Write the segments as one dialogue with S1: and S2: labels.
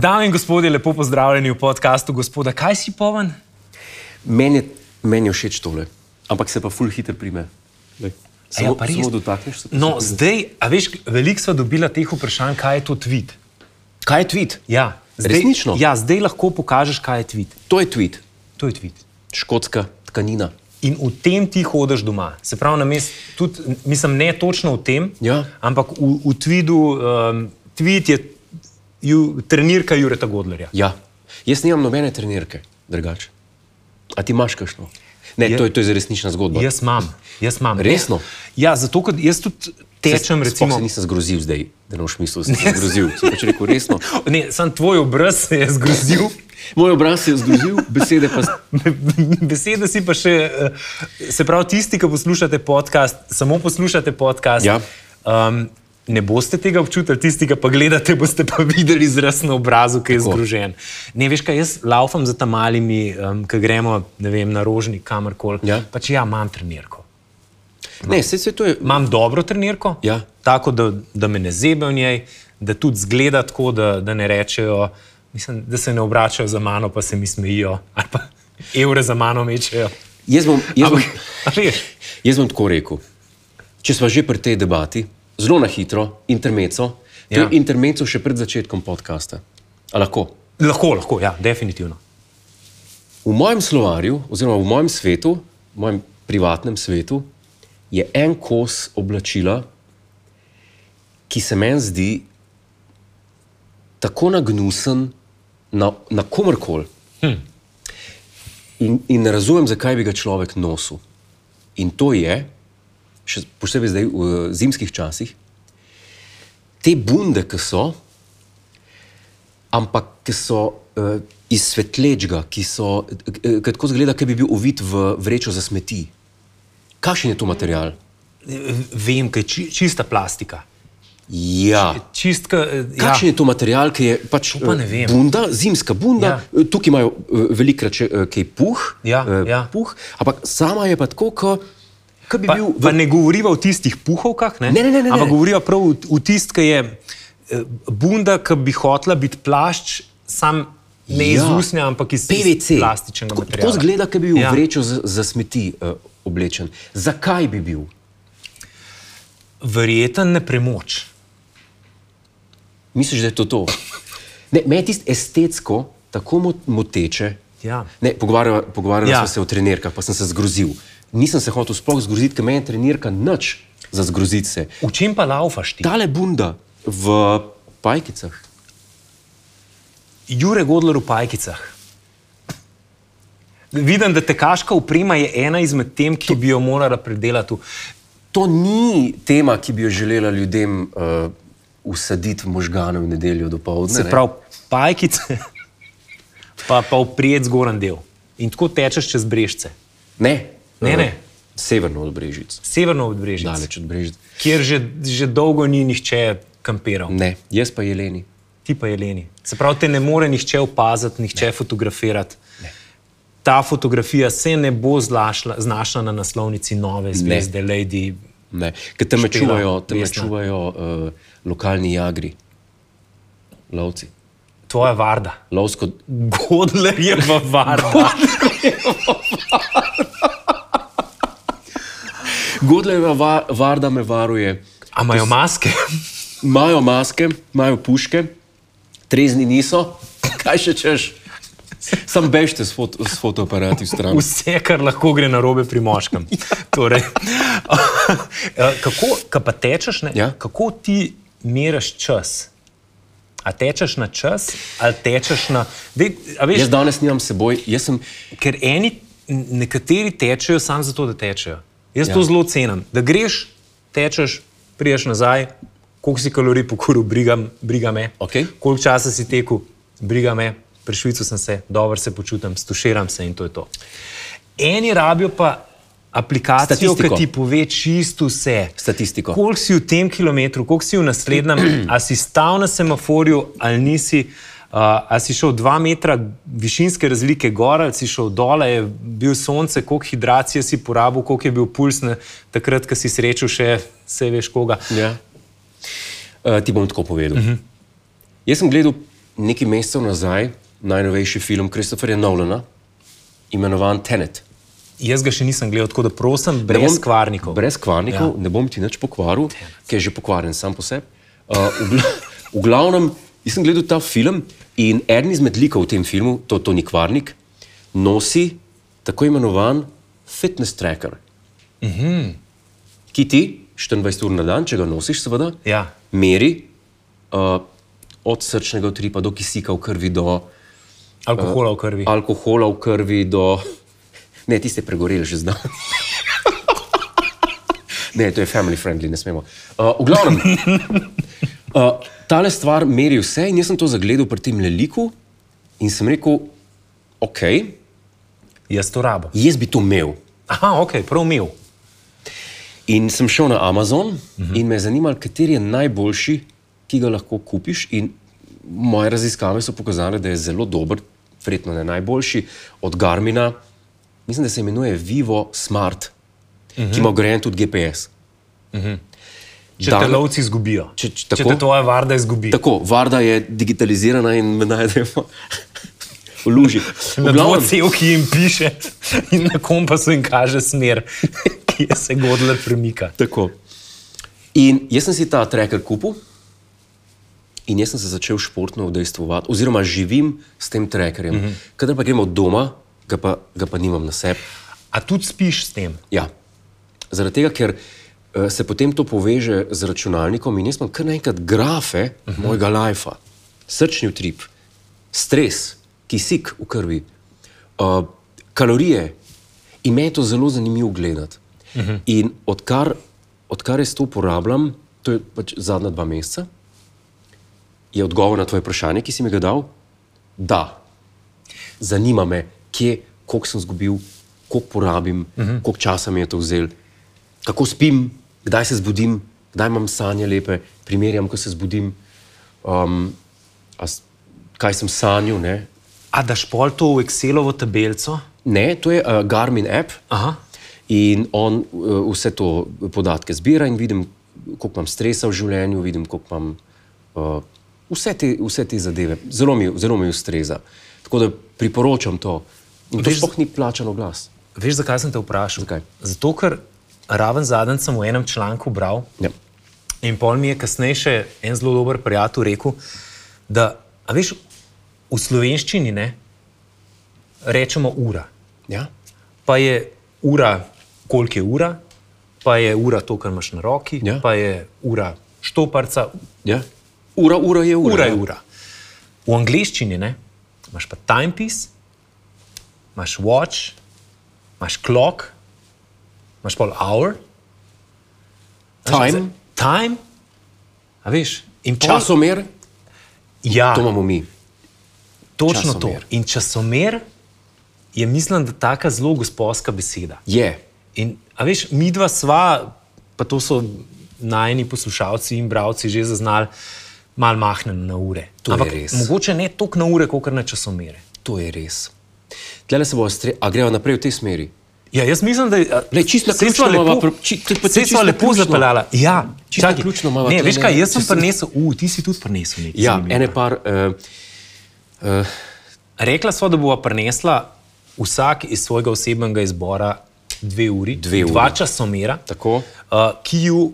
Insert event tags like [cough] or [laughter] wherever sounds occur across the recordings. S1: Dame in gospodje, lepo pozdravljeni v podkastu gospoda. Kaj si poven?
S2: Meni je, meni je všeč tole, ampak se pa ful hitro prime. Glej, Samo,
S1: ja, pa res?
S2: samo dotakneš se. ja, pa se
S1: No,
S2: prime.
S1: zdaj, a veš, veliko sva dobila teh vprašanj, kaj je to tweet.
S2: Kaj je tweet?
S1: Ja, zdaj,
S2: Resnično?
S1: Ja, zdaj lahko pokažeš, kaj je tweet.
S2: To je tweet,
S1: To je tweet.
S2: škotska tkanina.
S1: In v tem ti hodiš doma. Se pravi, na mestu, tudi, mislim, ne točno v tem,
S2: Ja.
S1: ampak v, v tweetu, um, tweet je ju, trenirka Jureta Godlerja.
S2: Ja. Jaz nimam nobene trenirke, drugače. A ti imaš kakšno? Ne,
S1: Je-
S2: je, to, je, to je za resnična zgodba.
S1: Jaz imam, jaz imam.
S2: Ja. Resno?
S1: Ja, zato ker jaz tudi
S2: Se-
S1: tečem,
S2: sploh
S1: recimo.
S2: Se nisem zgrozil zdaj, da ne boš mislil, da sem se zgrozil. Sem pač rekel resno.
S1: Ne, sam tvoj obraz se je zgrozil,
S2: [laughs] Moj obraz se je zgrozil, besede pa. s-
S1: besede si pa še. eh, Se pravi, tisti, ki poslušate podcast, samo poslušate podcast.
S2: Ja.
S1: Um, ne boste tega občutili, tisti, ki pa gledate, boste pa videli izraz na obrazu, ki je
S2: Tako.
S1: zgrožen. Ne veš, kaj jaz laufam za tam malimi, um, ki gremo ne vem, na rožnik, kamorkoli.
S2: Ja.
S1: Pač ja, imam trenirko.
S2: Ne, se, se to je.
S1: Imam dobro trenirko,
S2: Ja.
S1: tako da, da me ne zebe v njej, da tudi zgleda tako, da, da ne rečejo, mislim, da se ne obračajo za mano, pa se mi smejijo, ali pa evre za mano mečejo.
S2: Jaz bom, jaz bom,
S1: Ampak, a veš,
S2: Jaz bom tako rekel. Če smo že pri tej debati, zelo na hitro, intermeco, ja.
S1: Ja.
S2: to je intermeco še pred začetkom podcasta. A lahko?
S1: lahko, lahko, ja, definitivno.
S2: V mojem slovarju, oziroma v mojem svetu, v mojem privatnem svetu, je en kos oblačila, ki se meni zdi tako nagnusen na, na komerkoli. In, in ne razumem, zakaj bi ga človek nosil. In to je, še posebej zdaj v eh, zimskih časih, te bunde, ki so, ampak ki so uh, iz svetlečega, ki so, uh, tako zgleda, ki bi bil uvit v vrečo za smeti. Kakšen je to material?
S1: Vem, kaj je či, čista plastika.
S2: Ja.
S1: Čistka, ja.
S2: Kakšen ja. je to material, ki je pač
S1: To pa ne
S2: eh,
S1: vem.
S2: bunda, zimska bunda?
S1: Ja.
S2: Ja. Tukaj imajo eh, velikrat še eh, kaj puh,
S1: Ja,
S2: eh,
S1: ja.
S2: puh, ampak sama je pa tako, kot bi
S1: Pa,
S2: bil
S1: pa ne govoriva o tistih puhovkah, ne?
S2: Ne, ne, ne, ne,
S1: ampak
S2: ne.
S1: govoriva prav v, v tist, ki je eh, bunda, ki bi hotla biti plašč, sam ne ja. iz
S2: Ja.
S1: usnja, ampak iz, iz
S2: PVC.
S1: plastičnega
S2: Tako-
S1: materiala.
S2: Tako zgleda, kot bi bil
S1: Ja.
S2: ja. vrečo za, za smeti uh, oblečen. Zakaj bi bil?
S1: Verjeten ne premoč.
S2: Misliš, da je to to? Ne, meni je tisto estetsko tako mot- moteče.
S1: Ja.
S2: Ne, pogovarjala pogovarjala
S1: Ja.
S2: ja. sva se o trenirkah, pa sem se zgrozil. Nisem se hotel sploh zgroziti, ker meni je trenirka nič za zgroziti se.
S1: V čem pa laufaš ti?
S2: Tale bunda v pajkicah.
S1: Jure Godler v pajkicah. Vidim, da tekaška oprema je ena izmed tem, ki bi jo morala predelati. v-
S2: To ni tema, ki bi jo želela ljudem uh, usaditi v možgane v nedeljo do povdne.
S1: Se
S2: ne.
S1: pravi, pajkice, [laughs] pa, pa uprijet zgoren del. In tako tečeš čez brežce,
S2: ne,
S1: Ne,
S2: eh,
S1: ne.
S2: Severno od Brežic,
S1: severno od brežic,
S2: daleč od Brežic.
S1: kjer že, že dolgo ni nihče kampiral,
S2: Ne, jaz pa Jeleni.
S1: ti pa jeleni. Se pravi, te ne more nihče opaziti, nihče ne. fotografirati. Ne. Ta fotografija se ne bo zlašla, znašla na naslovnici nove zvezde, Lady.
S2: Ne, ker te me
S1: Štela,
S2: čuvajo, te me
S1: Vesna.
S2: čuvajo uh, lokalni jagri, lovci.
S1: Tvoja varda.
S2: Lovsko,
S1: Godler je v [laughs] varda.
S2: Godleva va, varda me varuje.
S1: A imajo maske?
S2: Imajo maske, imajo puške, trezni niso, [laughs] kaj še češ. Sam bežite s, foto, s fotoaparati stran.
S1: Vse, kar lahko gre na robe pri [laughs] moškem. Torej, eh, kako ka pa tečeš, ne,
S2: Ja.
S1: kako ti meriš čas? A tečeš na čas, ali tečeš na. Dej, a veš,
S2: Jaz danes nimam s seboj, jaz sem,
S1: Ker eni, n- nekateri tečejo samo zato, da tečejo. Jaz ja.
S2: Ja.
S1: to zelo cenim. Da greš, tečeš, priješ nazaj, koliko si kalorij pokuril, briga, briga me.
S2: Okej.
S1: Koliko časa si tekel, briga me, prešvicu sem se, dobro se počutim, stuširam se in to je to. Eni rabijo pa aplikacijo, ki
S2: Statistiko.
S1: ti pove čisto vse.
S2: Statistiko.
S1: Koliko si v tem kilometru, koliko si v naslednjem, a si stal na semaforju ali nisi. Uh, a si šel dva metra višinske razlike gor ali si šel dol, je bil sonce, koliko hidracije si porabil, koliko je bil puls na, takrat, ko si srečal še vse veš koga.
S2: Ja. Uh, ti bom tako povedal. Uh -huh. Jaz sem gledal nekaj mesecev nazaj najnovejši film Kristofera Nolana, imenovan Tenet.
S1: Jaz ga še nisem gledal, tako da prosim, brez
S2: bom-
S1: kvarnikov.
S2: Brez kvarnikov, ja. ne bom ti nič pokvaril, ker je že pokvarjen sam po sebi. Uh, v, gla- v glavnem, jaz sem gledal ta film in eden izmed likov v tem filmu, to Toni Kvarnik, nosi tako imenovan fitness tracker. Mhm. Ki ti 24 ur na dan, če ga nosiš, seveda,
S1: Ja.
S2: meri uh, od srčnega utripa do kisika v krvi, do
S1: Alkohola v krvi.
S2: alkohola v krvi do... Ne, tiste pregoreli že znam. ne, to je family friendly, ne smemo. Uh, v glavnem, uh, tale stvar meri vse in jaz sem to zagledal pri tem leliku in sem rekel, ok,
S1: Jaz to rabo.
S2: jaz bi to imel.
S1: Aha, ok, prav umil.
S2: In sem šel na Amazon mhm. in me je zanimalo, kateri je najboljši, ki ga lahko kupiš. In moje raziskave so pokazale, da je zelo dober, verjetno ne najboljši, od Garmina, mislim, da se imenuje Vivo Smart, mhm. ki ima ugrajen tudi GPS.
S1: Mhm. Če
S2: Dan-
S1: te lovci izgubijo,
S2: Če- če
S1: če
S2: tako?
S1: te tvoja varda izgubi.
S2: Tako, Varda je digitalizirana in me najdemo v luži. V
S1: Na
S2: glavnem-
S1: dvocel, ki jim piše in na kompasu jim kaže smer, [laughs] ki se Godler premika.
S2: Tako. In jaz sem si ta tracker kupil in jaz sem se začel športno udejstvovati, oziroma živim s tem trackerjem. Mm -hmm. Kadar pa gremo od doma, ga pa, ga pa nimam na sebi.
S1: A tudi spiš s tem?
S2: Ja. Zaradi tega, ker eh, se potem to poveže z računalnikom in jaz imam kar naenkrat grafe uh -huh. mojega lajfa, srčni utrip, stres, kisik v krvi, uh, kalorije. In meni je to zelo zanimivo gledati. Uh -huh. In odkar, odkar jaz to uporabljam, to je pač zadnja dva meseca, je odgovor na tvoje vprašanje, ki si mi ga dal, da zanima me, kje, koliko sem izgubil, koliko porabim, uh -huh. koliko časa mi je to vzel, kako spim, kdaj se zbudim, kdaj imam sanje lepe, primerjam, ko se zbudim, um, a s- kaj sem sanjal. Ne?
S1: A daš pol to v Excelovo tabelico?
S2: ne, to je uh, Garmin app
S1: Aha.
S2: in on uh, vse to podatke zbira in vidim, koliko imam stresa v življenju, vidim, koliko imam uh, vse, te, vse te zadeve. Zelo mi, zelo mi ustreza. Tako da priporočam to. In to
S1: Veš,
S2: sploh ni plačan oglas.
S1: Veš, zakaj sem te vprašal?
S2: Zakaj?
S1: Zato, ker raven zadnjič sem v enem članku bral
S2: Ja.
S1: in pol mi je kasneje še en zelo dober prijatelj rekel, da, a veš, v slovenščini ne rečemo ura.
S2: Ja?
S1: pa je ura, koliko je ura, pa je ura to, kar imaš na roki,
S2: Ja.
S1: ja. pa je ura štoparca,
S2: Ja? Ura, ura je ura.
S1: ura je ura. V angleščini ne? imaš pa timepiece, imaš watch, imaš clock, imaš pol hour,
S2: Time,
S1: time, a veš, in pol,
S2: časomer,
S1: Ja,
S2: to imamo mi.
S1: točno
S2: časomer.
S1: to. In časomer je, mislim, da taka zelo gospodska beseda.
S2: Je.
S1: In, a veš, mi dva sva, pa to so najni poslušalci in bravci že zaznali, malo mahnen na ure.
S2: To je
S1: Ampak
S2: res.
S1: mogoče ne toliko na ure, kot na časomere.
S2: To je res. Tlele se bo stre... A gremo naprej v tej smeri?
S1: Ja, jaz mislim, da a,
S2: Glej, čisto na
S1: saj sva
S2: ključno
S1: lepo-
S2: imava pro- či- to je pa
S1: saj
S2: čisto
S1: sva
S2: na
S1: lepo
S2: ključno.
S1: zapeljala. Ja,
S2: Čisto na
S1: čakaj.
S2: ključno imava
S1: Ne,
S2: tole,
S1: veš kaj,
S2: ne,
S1: jaz sem
S2: čisto-
S1: prinesel, u, ti si tudi prinesel nekaj.
S2: Ja,
S1: zanimivega.
S2: ene par. Uh,
S1: Rekla sva, da bova prinesla vsak iz svojega osebnega izbora dve uri,
S2: Dve
S1: dva
S2: uri.
S1: časomera,
S2: Tako.
S1: uh, ki ju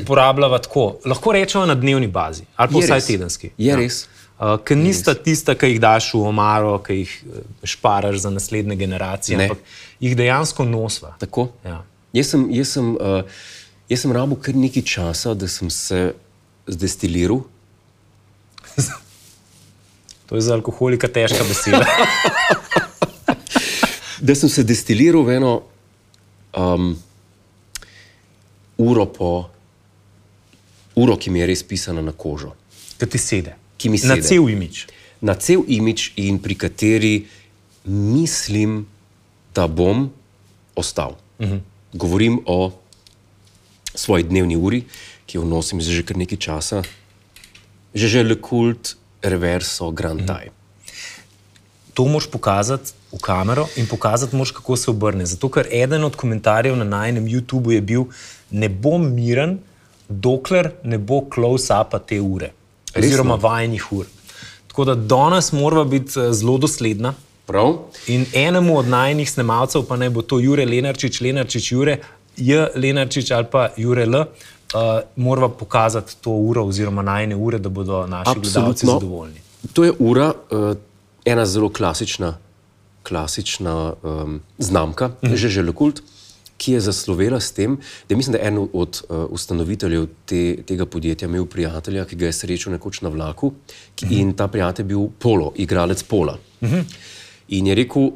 S1: uporabljava tako, lahko rečemo na dnevni bazi ali pa
S2: Je
S1: vsaj
S2: res.
S1: tedenski.
S2: Je res.
S1: Uh, ker nista tista, ki jih daš v omaro, ki jih eh, šparaš za naslednje generacije,
S2: Ne.
S1: ampak jih dejansko nosva.
S2: tako.
S1: Ja.
S2: Jaz sem, jaz sem, uh, jaz sem rabo kar nekaj časa, da sem se zdestiliral.
S1: To je za alkoholika težka beseda. [laughs]
S2: Da sem se destiliral v eno um, uro, po, uro, ki mi je res pisana na kožo.
S1: Ki ti sede.
S2: Ki mi
S1: Na
S2: sede.
S1: cel imič.
S2: na cel imič in pri kateri mislim, da bom ostal. Uh -huh. Govorim o svoji dnevni uri, ki jo nosim že kar nekaj časa, že že le kult reverso, grand time.
S1: to moš pokazati v kamero in pokazati moš, kako se obrne. Zato, ker eden od komentarjev na najnem YouTubu je bil, ne bom miren, dokler ne bo close-upa te ure,
S2: Resno?
S1: oziroma vajnih ur. Tako da danes moramo biti eh, zelo dosledna.
S2: Prav?
S1: In enemu od najnih snemalcev, pa naj bo to Jure Lenarčič, Lenarčič Jure, J. Lenarčič ali pa Jure L., uh, moramo pokazati to uro, oziroma najne ure, da bodo naši gledalci
S2: Absolutno.
S1: zadovoljni.
S2: To je ura, uh, ena zelo klasična, klasična um, znamka, mm -hmm. že že Lekult, ki je zaslovela s tem, da mislim, da je en od uh, ustanoviteljev te, tega podjetja imel prijatelja, ki ga je srečal nekoč na vlaku, ki, mm -hmm. in ta prijatelj je bil polo, igralec pola. Mm -hmm. In je rekel,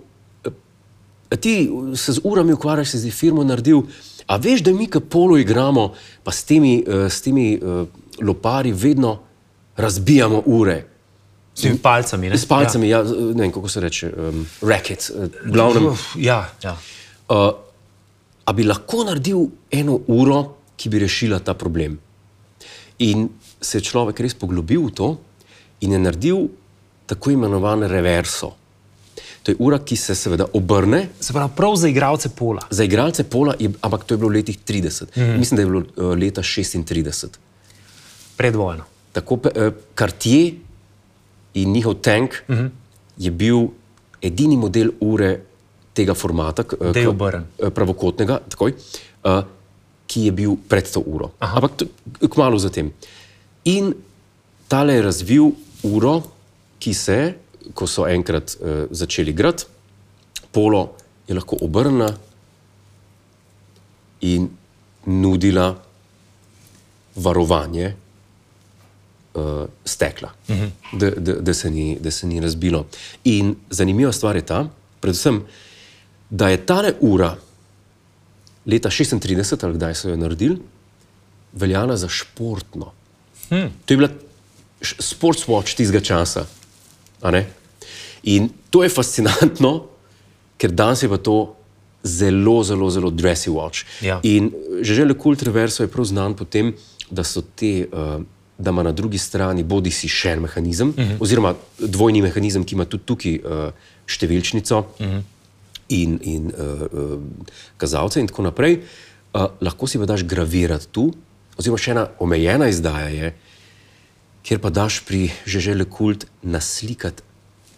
S2: "A ti se z urami ukvarjaš, si zdaj firmo naredil, a veš, da mi, ki polo igramo, pa s temi, eh, s temi eh, lopari vedno razbijamo ure.
S1: S temi palcami. Ne?
S2: S palcami, ja. Ja, ne vem, kako se reče, um, racket, eh, v glavnem. Uh,
S1: Uf, Ja, ja.
S2: a bi lahko naredil eno uro, ki bi rešila ta problem? In se je človek res poglobil v to in je naredil tako imenovan reverso. To je ura, ki se seveda obrne,
S1: Se pravi, prav za igralce pola.
S2: Za igralce pola, je, ampak to je bilo v letih 30, mm. mislim, da je bilo eh, leta 36.
S1: Pred vojno.
S2: Tako Kartije in njihov tank mm. je bil edini model ure tega formata, k- eh,
S1: Da je
S2: k-
S1: obrn.
S2: eh, pravokotnega, takoj, eh, ki je bil pred to uro. Aha. Ampak to- eh, kmalo zatem. In tale je razvil uro, ki se, ko so enkrat eh, začeli grad, polo je lahko obrnila in nudila varovanje uh, stekla, uh -huh. da, da, da, se ni, da se ni razbilo. In zanimiva stvar je ta, predvsem, da je ta ura leta 36, ali kdaj so jo naredili, veljala za športno. Hmm. To je bila š- sports watch tistega časa. a ne? In to je fascinantno, ker danes je pa to zelo, zelo, zelo dressy watch.
S1: Ja.
S2: In eh, že že Kult Reverso je prav znan po tem, da so te. Uh, Da ima na drugi strani bodi si še en mehanizem, uh -huh. oziroma dvojni mehanizem, ki ima tudi tukaj uh, številčnico uh -huh. in, in uh, uh, kazalce, in tako naprej. Uh, lahko si pa daš gravirati tu, oziroma še ena omejena izdaja je, kjer pa daš pri Žežele kult naslikati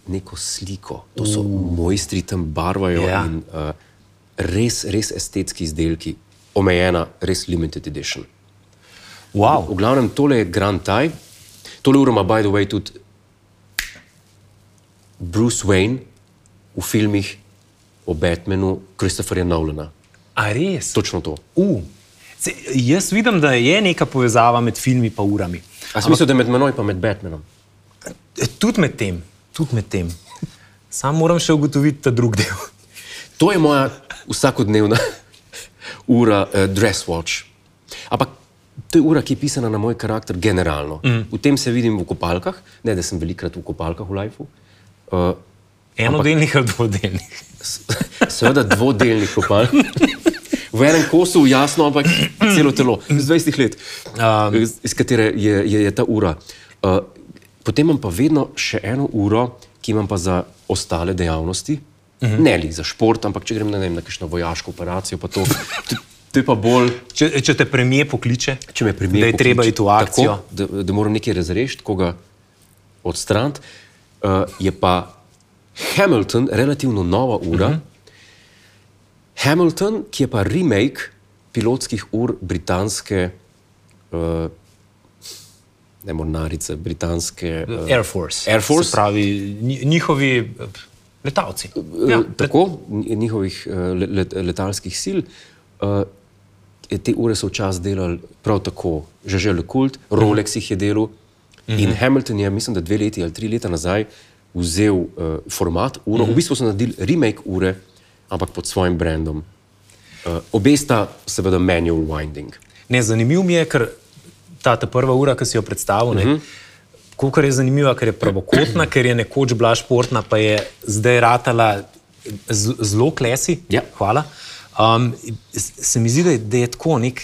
S2: neko sliko. To so mojstri tam barvajo
S1: Ja.
S2: yeah. in uh, res, res estetski izdelki, omejena, res limited edition.
S1: Wow.
S2: V glavnem, tole je Grand Taj, tole uro ima, by the way, tudi Bruce Wayne v filmih o Batmanu, Christopherja Nolana.
S1: A res?
S2: Točno to.
S1: U. Se, jaz vidim, da je neka povezava med filmi in urami.
S2: A smisel, da je med menoj in med Batmanom?
S1: E, Tudi med tem, tudi med tem. Sam moram še ugotoviti ta drugi del. [laughs]
S2: To je moja vsakodnevna [laughs] ura, uh, dress watch. Ampak to je ura, ki je pisana na moj karakter generalno. Mm. V tem se vidim v kopalkah, ne da sem velikrat v kopalkah v lifeu. Uh,
S1: Enodelnih ali dvodelnih.
S2: s- seveda dvodelnih kopalk. V enem kosu, jasno, ampak celo telo, iz 20 let, um, iz, iz katere je, je, je ta ura. Uh, potem imam pa vedno še eno uro, ki imam pa za ostale dejavnosti, uh -huh. ne le za šport, ampak če grem na, ne vem, na kakšno vojaško operacijo, pa to, to, to je pa bolj,
S1: Če, če te premije pokliče,
S2: če me primerjajo.
S1: da je treba iti v akcijo.
S2: Tako, da, da moram nekaj razrešiti, koga odstraniti. Uh, je pa Hamilton, relativno nova ura. Uh
S1: Mhm.
S2: -huh. Hamilton, ki je pa remake pilotskih ur britanske, uh, ne mornarice, britanske. Uh,
S1: Air Force.
S2: Air Force?
S1: Se pravi, nji- njihovi eh, letalci.
S2: ja,
S1: Ja,
S2: tako, n- njihovih eh, le- let, letalskih sil. eh, Te ure so včasih delali prav tako, že že le kult, Rolex jih je delal. In Hamilton je, mislim, da dve leti ali tri leta nazaj vzel uh, format uro, v bistvu so naredili remake ure, ampak pod svojim brandom. Uh, obe sta, seveda, manual winding.
S1: Ne, zanimiv mi je, ker ta, ta prva ura, ki si jo predstavil,
S2: Mhm.
S1: ne, uh -huh. koliko je zanimiva, ker je pravokotna, ker je nekoč bila športna, pa je zdaj ratala z- zelo klesi.
S2: Ja.
S1: Hvala. Um, s- se mi zdi, da je, da je tako nek,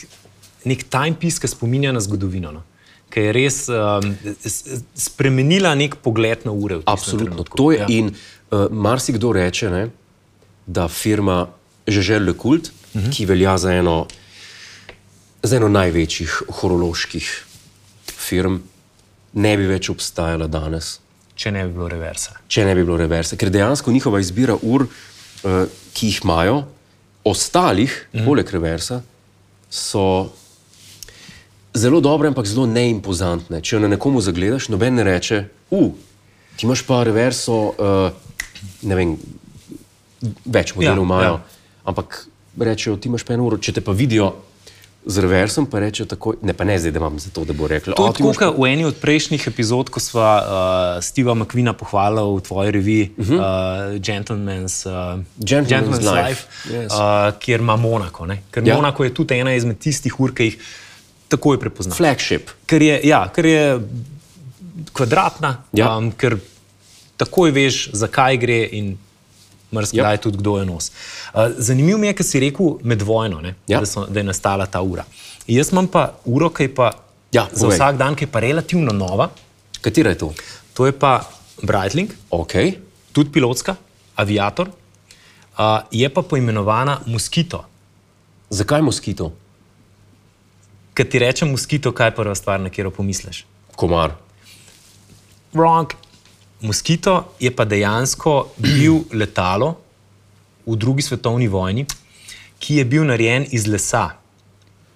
S1: nek timepiece, ki spominja na zgodovino. No. ki je res um, s- spremenila nek pogled na ure. v tistem
S2: Absolutno.
S1: trenutku.
S2: To je ja. in uh, marsikdo reče, ne, da firma Žežel Le Kult, uh
S1: Mhm.
S2: -huh. ki velja za eno, za eno največjih horoloških firm, ne bi več obstajala danes,
S1: Če ne bi bilo reversa.
S2: če ne bi bilo reversa. Ker dejansko njihova izbira ur, uh, ki jih imajo, ostalih,
S1: Mhm.
S2: uh -huh. poleg reversa, so. Zelo dobre, ampak zelo neimpozantne. Če jo na nekomu zagledaš, noben ne reče, uh, ti imaš pa reverso, uh, ne vem, več modelov
S1: Ja,
S2: imajo.
S1: ja.
S2: Ja. Ampak rečejo, ti imaš pa eno uro, če te pa vidijo z reversom, pa rečejo takoj, ne pa ne zdaj, da imam za to, da bo rekel.
S1: To je tako, kot v eni od prejšnjih epizod, ko sva uh, Steva McQueena pohvalila v tvoji reviji uh -huh. uh, Gentleman's, uh,
S2: Mhm. Gentleman's Life. Yes.
S1: uh, kjer ima Monako. Ne? Ker
S2: Ja.
S1: ja. Monako je tudi ena izmed tistih ur, ki jih takoj prepoznaš.
S2: flagship.
S1: Ker je, ja, ker je kvadratna,
S2: Ja.
S1: ja. um, ker takoj veš, zakaj gre in
S2: Ja.
S1: mrzkaj yep. tudi kdo jo nosi. Uh, zanimivo mi je, ker si rekel med vojno, ne,
S2: Ja.
S1: da, so, da je nastala ta ura. Jaz imam pa uro, ki je pa
S2: Ja,
S1: za
S2: povej.
S1: vsak dan, ki je pa relativno nova.
S2: Katera je to?
S1: To je pa Breitling,
S2: Ok,
S1: tudi pilotska, aviator, uh, je pa poimenovana Moskito.
S2: zakaj moskito?
S1: Ker ti rečem Moskito, kaj je prva stvar, na katero pomisliš?
S2: Komar.
S1: Wrong. Moskito je pa dejansko bil letalo v drugi svetovni vojni, ki je bil narejen iz lesa.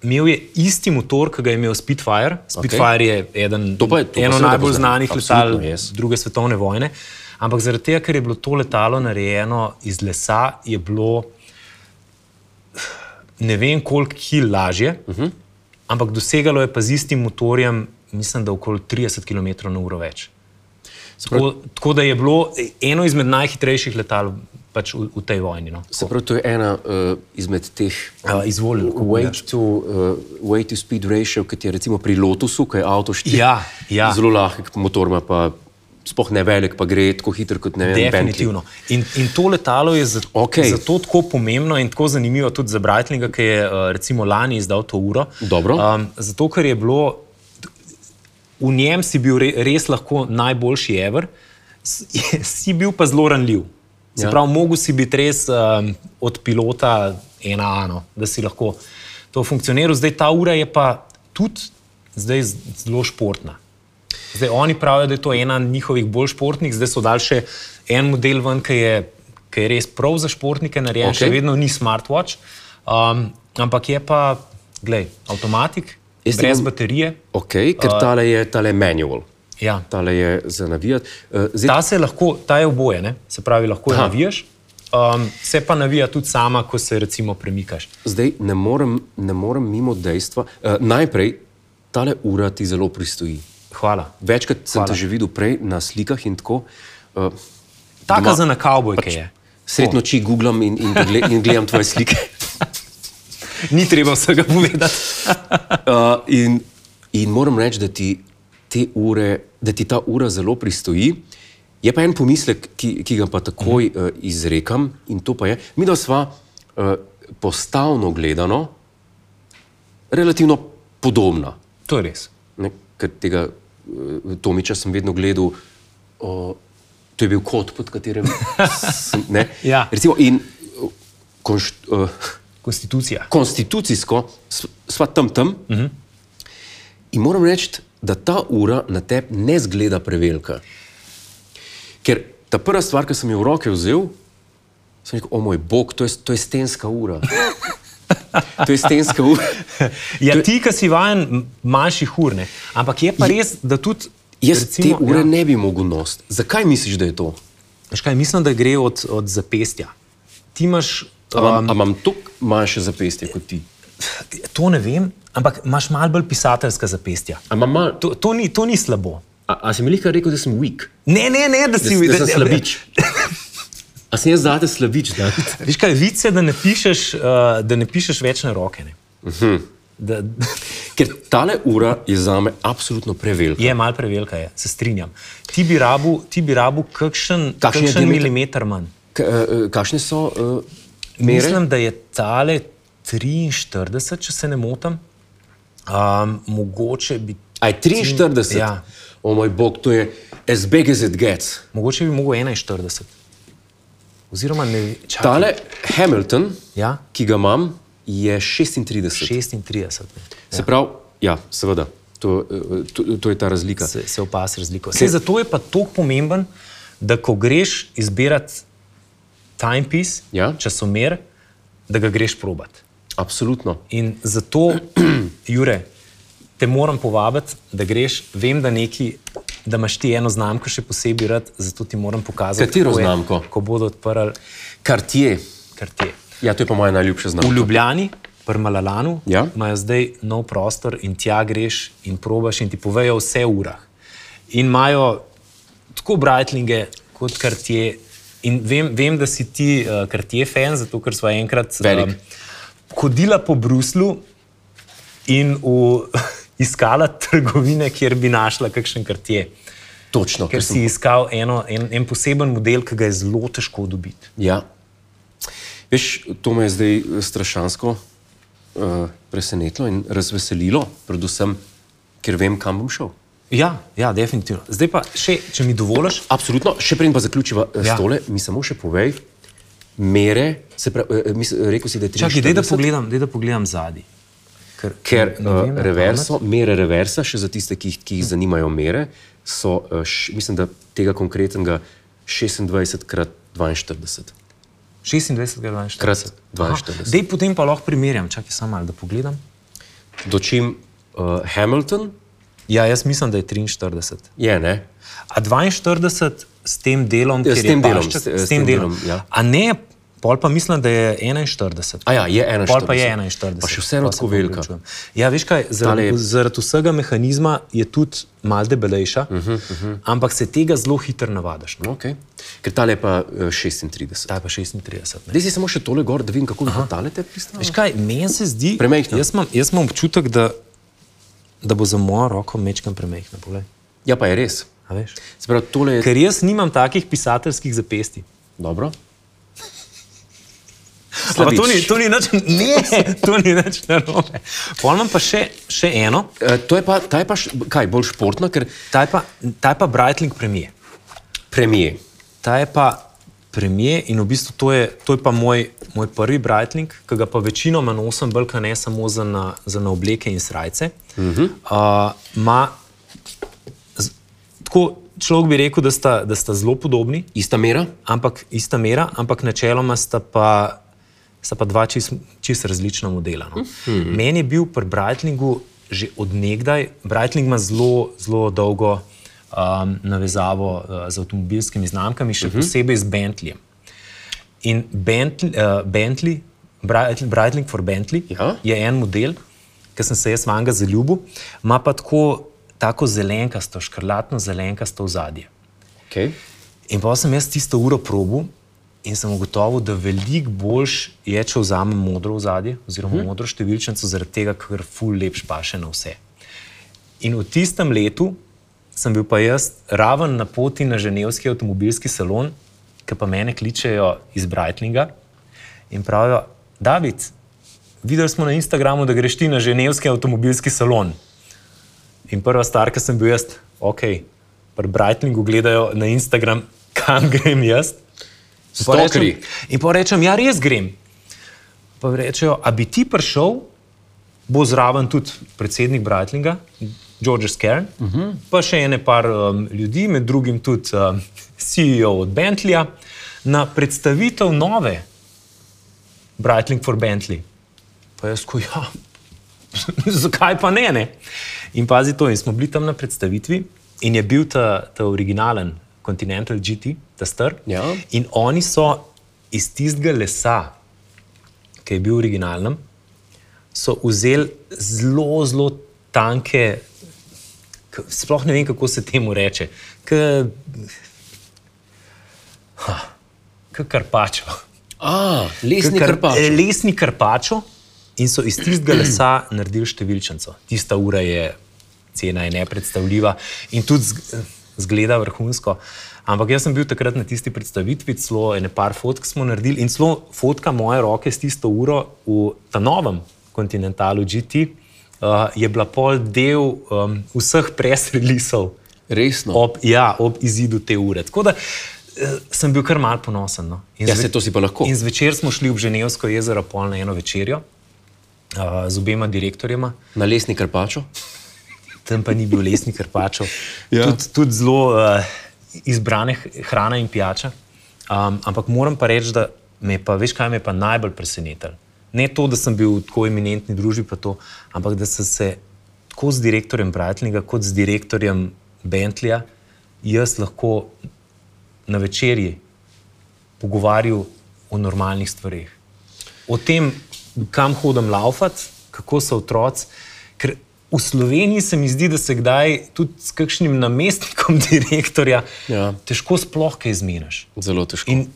S1: Imel je isti motor, ki ga je imel Spitfire. Spitfire okay. je eden,
S2: To pa je- to pa
S1: eno
S2: seveda
S1: najbolj
S2: poznam.
S1: znanih letal
S2: Absolutno, yes.
S1: druge svetovne vojne. Ampak zaradi tega, ker je bilo to letalo narejeno iz lesa, je bilo ne vem koliko kil lažje, uh -huh.
S2: Mhm.
S1: ampak dosegalo je pa z istim motorjem, mislim, da okoli 30 km/h več. Tako, tako da je bilo eno izmed najhitrejših letal pač v, v tej vojni. No.
S2: Se pravi, to je ena uh, izmed teh eh,
S1: Uh, Izvolil.
S2: Weight to, uh, weight to speed ratio, ki je recimo pri Lotusu, ki je avto 4.
S1: Ja, ja.
S2: Zelo lahek motor ima, pa sploh ne velik, pa gre tako hitro kot ne vem. Bentley.
S1: Definitivno. In, in to letalo je zato,
S2: Okej.
S1: okay. zato tako pomembno in tako zanimivo tudi za Breitlinga, ki je eh, recimo lani izdal to uro.
S2: Dobro.
S1: Um, zato, ker je bilo, v njem si bil re, res lahko najboljši ever, s- [laughs] je- si bil pa zelo ranljiv. Se
S2: Ja.
S1: ja. pravi, mogel si biti res um, od pilota ena ano, da si lahko to funkcioniral. Zdaj ta ura je pa tudi zdaj z- zelo športna. Zdaj, oni pravijo, da je to ena njihovih bolj športnih, zdaj so dal še en model ven, ki je, ki je res prav za športnike narejen,
S2: Okej.
S1: okay. še vedno ni smartwatch, um, ampak je pa, glej, avtomatik,
S2: Jaz
S1: Jaz
S2: ti
S1: brez
S2: bom-
S1: baterije.
S2: Okay, ker uh, tale je tale manual,
S1: Ja.
S2: tale je za navijati. Uh, zdaj,
S1: Ta se lahko, ta je oboje, ne? se pravi, lahko jo
S2: Aha.
S1: navijaš, um, se pa navija tudi sama, ko se recimo premikaš.
S2: zdaj ne morem, ne morem mimo dejstva. Uh, najprej, tale ura ti zelo pristoji.
S1: Hvala.
S2: Večkrat sem Hvala.
S1: Hvala.
S2: te že videl prej na slikah in tako. Uh,
S1: Taka
S2: doma-
S1: za na kavbojke je.
S2: Pač Sred noči googlam in, in, pogle- in gledam tvoje
S1: [laughs]
S2: slike.
S1: Ni treba vsega povedati.
S2: Uh, in, in moram reči, da ti, te ure, da ti ta ura zelo pristoji. Je pa en pomislek, ki, ki ga pa takoj
S1: Mhm.
S2: uh, izrekam, in to pa je, mi da sva uh, postavno gledano relativno podobna.
S1: To je res.
S2: Ne, ker tega uh, Tomiča sem vedno gledal, uh, to je bil kot, pod
S1: [laughs]
S2: katerem sem. ne.
S1: Ja.
S2: Recimo, in uh, konšt, uh,
S1: Konstitucija.
S2: konstitucijsko s- sva tam tam. Uh -huh. In moram reči, da ta ura na tebi ne zgleda prevelika. Ker ta prva stvar, ki sem jo v roke vzel, sem rekel, o moj bog, to je, to je stenska [laughs] ura. To je stenska ura.
S1: Ja, ti, ki si vajen m- manjših ur, ne. ampak je pa res, da tudi.
S2: Jaz Recimo, te ure ja.
S1: ja,
S2: ne bi mogel nositi. Zakaj misliš, da je to?
S1: Veš Kaj, mislim, da gre od, od zapestja. Ti imaš,
S2: Amam um, imam toliko manjše zapestje kot ti.
S1: eh, to ne vem, ampak imaš malo bolj pisateljska zapestja.
S2: A, mal, to,
S1: To, to, ni, to ni slabo.
S2: a, a si mi lahko rekel, da sem weak?
S1: Ne, ne, ne, da
S2: Da,
S1: si
S2: si, da sem
S1: ne-
S2: slabič? [laughs] A sem jaz zate slabič? David?
S1: Veš kaj, vice, da ne pišeš, uh, da ne pišeš več na roke. Ne?
S2: Mhm.
S1: Da,
S2: Ker tale ura je za me absolutno prevelika.
S1: je malo prevelika, je, se strinjam. Ti bi rabu, ti bi rabu kakšen,
S2: Kakšen je
S1: kakšen
S2: diameter?
S1: milimeter manj.
S2: K- eh, eh, Kakšne so uh, mere?
S1: Mislim, da je tale 43, če se ne motim. Um, mogoče bi.
S2: A A je 43?
S1: Ja.
S2: O moj bog, to je as big as it gets.
S1: Mogoče bi mogel 41. Oziroma, ne, čakaj,
S2: Tale Hamilton,
S1: Ja.
S2: ki ga imam, je 36.
S1: 36. Ne.
S2: Se pravi, ja, seveda, to, eh, to, to je ta razlika.
S1: se, se opasi razliko. Sej, zato je pa tako pomemben, da ko greš izbirati timepiece,
S2: Ja.
S1: časomer, da ga greš probat.
S2: Absolutno.
S1: In zato, [clears throat] Jure, te moram povabiti, da greš, vem, da neki. Da imaš ti eno znamko še posebej rad, zato ti moram pokazati,
S2: Katero
S1: kako je,
S2: znamko?
S1: Ko bodo odprli
S2: Kartije,
S1: kartier.
S2: ja, to je pa moja najljubša
S1: V
S2: znamka.
S1: Ljubljani, pri Malalanu,
S2: Ja.
S1: imajo zdaj nov prostor in tja greš in probaš in ti povejo vse o urah. In imajo tako Brightlinge kot Kartije. In vem, vem, da si ti uh, Kartije fan, zato ker smo enkrat eh,
S2: Velik.
S1: hodila po Bruslu in v, [laughs] iskala trgovine, kjer bi našla kakšen Kartije.
S2: Točno,
S1: Ker
S2: ker
S1: si
S2: si.
S1: iskal eno, en, en poseben model, ki ga je zelo težko dobiti.
S2: Ja. Veš, to me je zdaj eh, strašansko uh, presenetilo in razveselilo, predvsem, ker vem, kam bom šel.
S1: Ja, ja, definitivno. Zdaj pa, še, če mi dovoliš,
S2: Absolutno, še preden pa zaključiva ja.
S1: Ja.
S2: stole, mi samo še povej, mere, se pravi, eh, mis, rekel si, da je 3.
S1: Čakaj, daj da pogledam, daj da pogledam zadaj. Ker,
S2: Ker
S1: ne
S2: uh,
S1: vem na
S2: reverso, mere reversa, še za tiste, ki, jih- ki jih zanimajo mere, so, uh, š, mislim, da tega konkretnega 26 krat 42.
S1: pamet. 26 krat 42.
S2: Krat
S1: Aha,
S2: 42.
S1: Dej potem pa lahko primerjam, čakaj samo malo, da pogledam.
S2: Dočim uh, Hamilton
S1: Ja, jaz mislim, da je 43.
S2: je, ne?
S1: A 42 s tem delom,
S2: Ja, s
S1: kjer
S2: tem
S1: je
S2: delom,
S1: pašček,
S2: s-
S1: s, tem delom.
S2: ja.
S1: A ne, pol pa mislim, da je 41.
S2: A ja, je 41.
S1: Pol pa je 41.
S2: Pa še vseeno
S1: Pol se
S2: tako velika.
S1: opravičujem. Ja, veš kaj,
S2: Tale
S1: zaradi,
S2: je-
S1: zaradi vsega mehanizma je tudi malce debelejša,
S2: Mhm,
S1: uh -huh, uh -huh. ampak se tega zelo hitro navadaš. No?
S2: Okay. Ker tale je pa uh, 36.
S1: Ta je pa 36. Ne?
S2: Zdaj si samo še tole gor, da vidim, kako bo tale te pristane.
S1: Veš kaj, meni se zdi,
S2: Premajhna.
S1: Jaz imam, jaz imam občutek, da, da bo za mojo roko mečkam premehna. poglej.
S2: Ja, pa je res.
S1: A veš?
S2: Se pravi, tole je...
S1: Ker jaz nimam takih pisateljskih zapesti.
S2: Dobro.
S1: Ampak To
S2: Slabič.
S1: ni, to ni nič, ne, to ni nič narobe. Polno pa še, še eno,
S2: Eh, To je pa, ta je pa š, kaj, bolj športna, ker
S1: ta je pa, ta je pa Brightling premije.
S2: premije.
S1: Ta je pa premije in v bistvu to je, to je pa moj, moj prvi Brightling, ki ga pa večinoma nosim, bolj kot ne samo za na, za na obleke in srajce. Uh -huh. uh, ma, z- tako človek bi rekel, da sta, da sta zelo podobni,
S2: Ista mera?
S1: ampak ista mera, ampak načeloma sta pa, sta pa dva čist, čist različna modela. No. Uh -huh. Meni je bil pri Brightlingu že odnegdaj, Brightling ima zelo, zelo dolgo um, navezavo uh, z avtomobilskimi znamkami, še uh -huh. posebej z Bentleyjem. In Bentley, uh, Bentley Bright- Brightling for Bentley
S2: Ja.
S1: je en model, ki sem se jaz vanga zaljubil, ima pa tako, tako zelenkasto, škrlatno zelenkasto ozadje.
S2: Okay.
S1: In pa sem jaz tisto uro probu in sem ugotovil, da veliko boljš je, če vzamem modro v zadje, oziroma hmm. modro številčnico, zaradi tega, ker ful lepš paše na vse. In v tistem letu sem bil pa jaz raven na poti na ženevski avtomobilski salon, ki pa mene kličejo iz Brightlinga in pravijo, David, videli smo na Instagramu, da greš ti na ženevski avtomobilski salon. In prva stvar, ki sem bil jaz, ok, pri Brightlingu gledajo na Instagram, [laughs] kam grem jaz. In pol
S2: Stalkerji.
S1: rečem- In pa rečem, ja, res grem. Pa rečejo, a bi ti prišel, bo zraven tudi predsednik Brightlinga, George Skern, uh -huh. pa še ene par um, ljudi, med drugim tudi um, CEO od Bentleya, na predstavitev nove Brightling for Bentley. Pa jaz ko ja, [laughs] zakaj pa ne, ne? In pazi to, in smo bili tam na predstavitvi in je bil ta, ta originalen Continental GT, ta star.
S2: Ja.
S1: In oni so iz tistega lesa, ki je bil originalen, so vzeli zelo, zelo tanke, k- sploh ne vem, kako se temu reče, kot karpačo.
S2: A, lesni
S1: Kar- eh,
S2: krpač.
S1: Lesni karpačo in so iz tistega lesa naredili številčnico. Tista ura je, cena je nepredstavljiva in tudi z- eh, zgleda vrhunsko. Ampak jaz sem bil takrat na tisti predstavitvi, celo ene par fotk smo naredili in celo fotka moje roke s tisto uro v ta novem kontinentalu GT uh, je bila pol del um, vseh presrelisov
S2: Resno.
S1: ob, ja, ob izidu te ure. Tako da eh, sem bil kar mal ponosen. No. In
S2: Ja,
S1: zve-
S2: se to si pa lahko.
S1: In zvečer smo šli ob Ženevsko jezero pol na eno večerjo uh, z obema direktorjema,
S2: Na lesni karpačo.
S1: tam pa ni bil lesni krpačev.
S2: Ja.
S1: ja. Tudi tud zelo uh, izbrane h- hrana in pijača. Um, ampak moram pa reči, da me je pa, veš, kaj me je pa najbolj presenetilo. Ne to, da sem bil v tako eminentni družbi, pa to, ampak da sem se tako z direktorjem Brightlinga kot z direktorjem Bentleyja jaz lahko na večerji pogovarjal o normalnih stvarih. O tem, kam hodim laufat, kako so otroci. Ker v Sloveniji se mi zdi, da se kdaj tudi s kakšnim namestnikom [laughs] direktorja
S2: Ja.
S1: težko sploh kaj zmeniš.
S2: Zelo težko.
S1: In,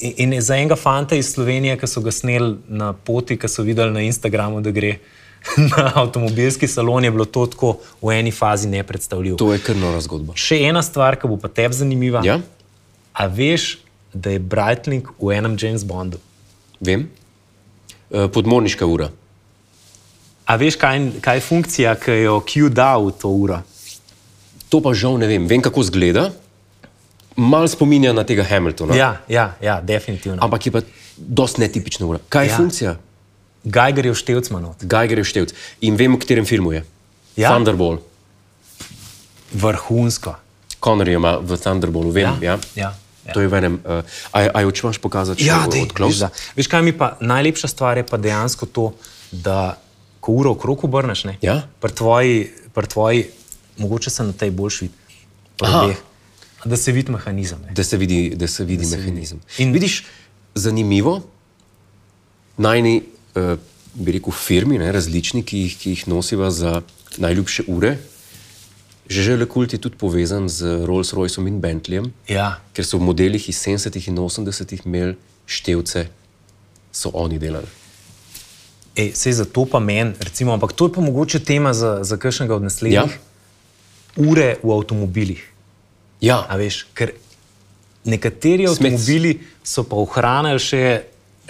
S1: in za enega fanta iz Slovenije, ki so ga sneli na poti, ki so videli na Instagramu, da gre [laughs] na avtomobilski salon, je bilo to tako v eni fazi nepredstavljivo.
S2: To je kar nora zgodba.
S1: Še ena stvar, ki bo pa tebi zanimiva.
S2: Ja,
S1: A veš, da je Brightling v enem James Bondu?
S2: vem. Eh, Podmorniška ura.
S1: A veš, kaj, kaj je funkcija, ki jo Q da v to uro?
S2: To pa žal ne vem. Vem, kako izgleda. Mal spominja na tega Hamiltona.
S1: Ja, ja, ja definitivno.
S2: Ampak je pa dosti netipična ura. Kaj je
S1: Ja.
S2: ja. funkcija?
S1: Geiger je v Števcmanu.
S2: Geiger je števc. In vem, v katerem filmu je.
S1: Ja.
S2: Thunderball.
S1: Vrhunsko.
S2: Conor je ima v Thunderballu, vem.
S1: Ja,
S2: Ja.
S1: ja, ja.
S2: To je v enem. Uh, a, a jo češ pokazati,
S1: Ja,
S2: če
S1: dej, veš,
S2: odkloniš?
S1: da. veš, kaj mi pa najlepša stvar je pa dejansko to, da ko uro okrog obrneš, ne,
S2: Ja.
S1: pri, tvoji, pri tvoji, mogoče se na tej boljši vidi, pri
S2: Aha.
S1: obeh, da se vidi mehanizem. Ne.
S2: Da se vidi, da se vidi da mehanizem. Se vidi. In
S1: In-
S2: vidiš, zanimivo, najni, uh, bi rekel, firmi, ne, različni, ki jih, ki jih nosiva za najljubše ure. Že že Lekult je tudi povezan z Rolls-Royceom in Bentleyjem,
S1: Ja,
S2: ker so v modelih iz 70-ih in 80-ih imeli števce, so oni delali.
S1: Ej, Sej za to pa meni, recimo, ampak to je pa mogoče tema za, za kakšnega od
S2: Ja,
S1: naslednjih. Ure v avtomobilih. A
S2: ja.
S1: veš, ker nekateri Smet.
S2: Smec.
S1: avtomobili so pa ohranili še,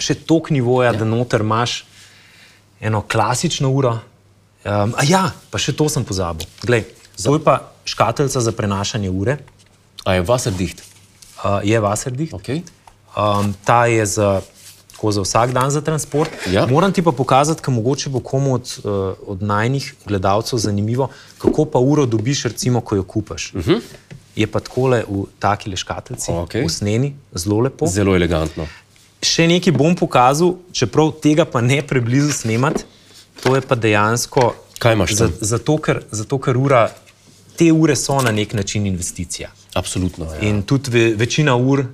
S1: še tok nivoja, ja. da noter imaš eno klasično uro. Um, a ja, pa še to sem pozabil. Glej, to je pa škatlica za prenašanje ure,
S2: a je Wasserdicht.
S1: uh, je vaserdih.
S2: Okay.
S1: Um, ta je za, tako za vsak dan za transport.
S2: Ja.
S1: Moram ti pa pokazati, ker mogoče bo komu od, eh, od najnih gledalcev zanimivo, kako pa uro dobiš, recimo, ko jo kupaš. Uh -huh. Je pa takole v taki leškatlici,
S2: Mhm. Okej.
S1: okay. usnjeni, zelo lepo. Z
S2: Zelo elegantno.
S1: Še nekaj bom pokazal, čeprav tega pa ne preblizu snemati. To je pa dejansko.
S2: Kaj imaš
S1: za-
S2: tam?
S1: Zato, ker, zato, ker ura, te ure so na nek način investicija.
S2: Absolutno. Ja.
S1: In tudi ve, večina ur,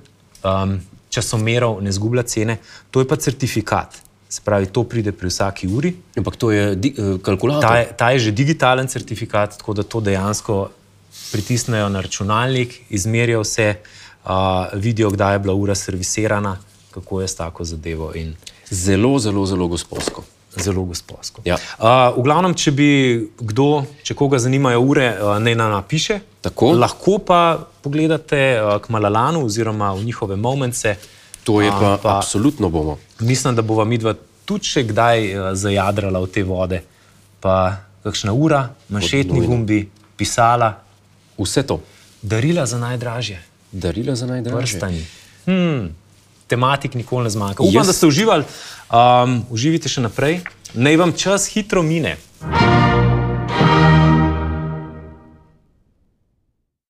S1: um, časomerov, ne zgublja cene, to je pa certifikat. Se pravi, to pride pri vsaki uri.
S2: Ampak to je di, eh, kalkulator.
S1: Ta je, ta je že digitalen certifikat, tako da to dejansko pritisnejo na računalnik, izmerijo vse, uh, vidijo, kdaj je bila ura servisirana, kako je s tako zadevo. In
S2: Zelo, zelo, zelo gospodsko.
S1: zelo gospodsko.
S2: Ja.
S1: Uh, v glavnem, če bi kdo, če koga zanimajo ure, uh, naj nam napiše.
S2: Tako.
S1: Lahko pa pogledate uh, k Malalanu oziroma v njihove momente.
S2: To je pa, pa
S1: pa-
S2: absolutno bomo.
S1: Mislim, da bova midva tudi še kdaj uh, zajadrala v te vode. Pa kakšna ura, manšetni
S2: nujno.
S1: gumbi, pisala,
S2: Vse to.
S1: darila za najdražje,
S2: Darila za najdražje.
S1: prstani. Hmm. Tematik nikoli ne zmanjka. Upam,
S2: Jaz-
S1: yes. da ste uživali, um, uživite še naprej. Naj vam čas hitro mine.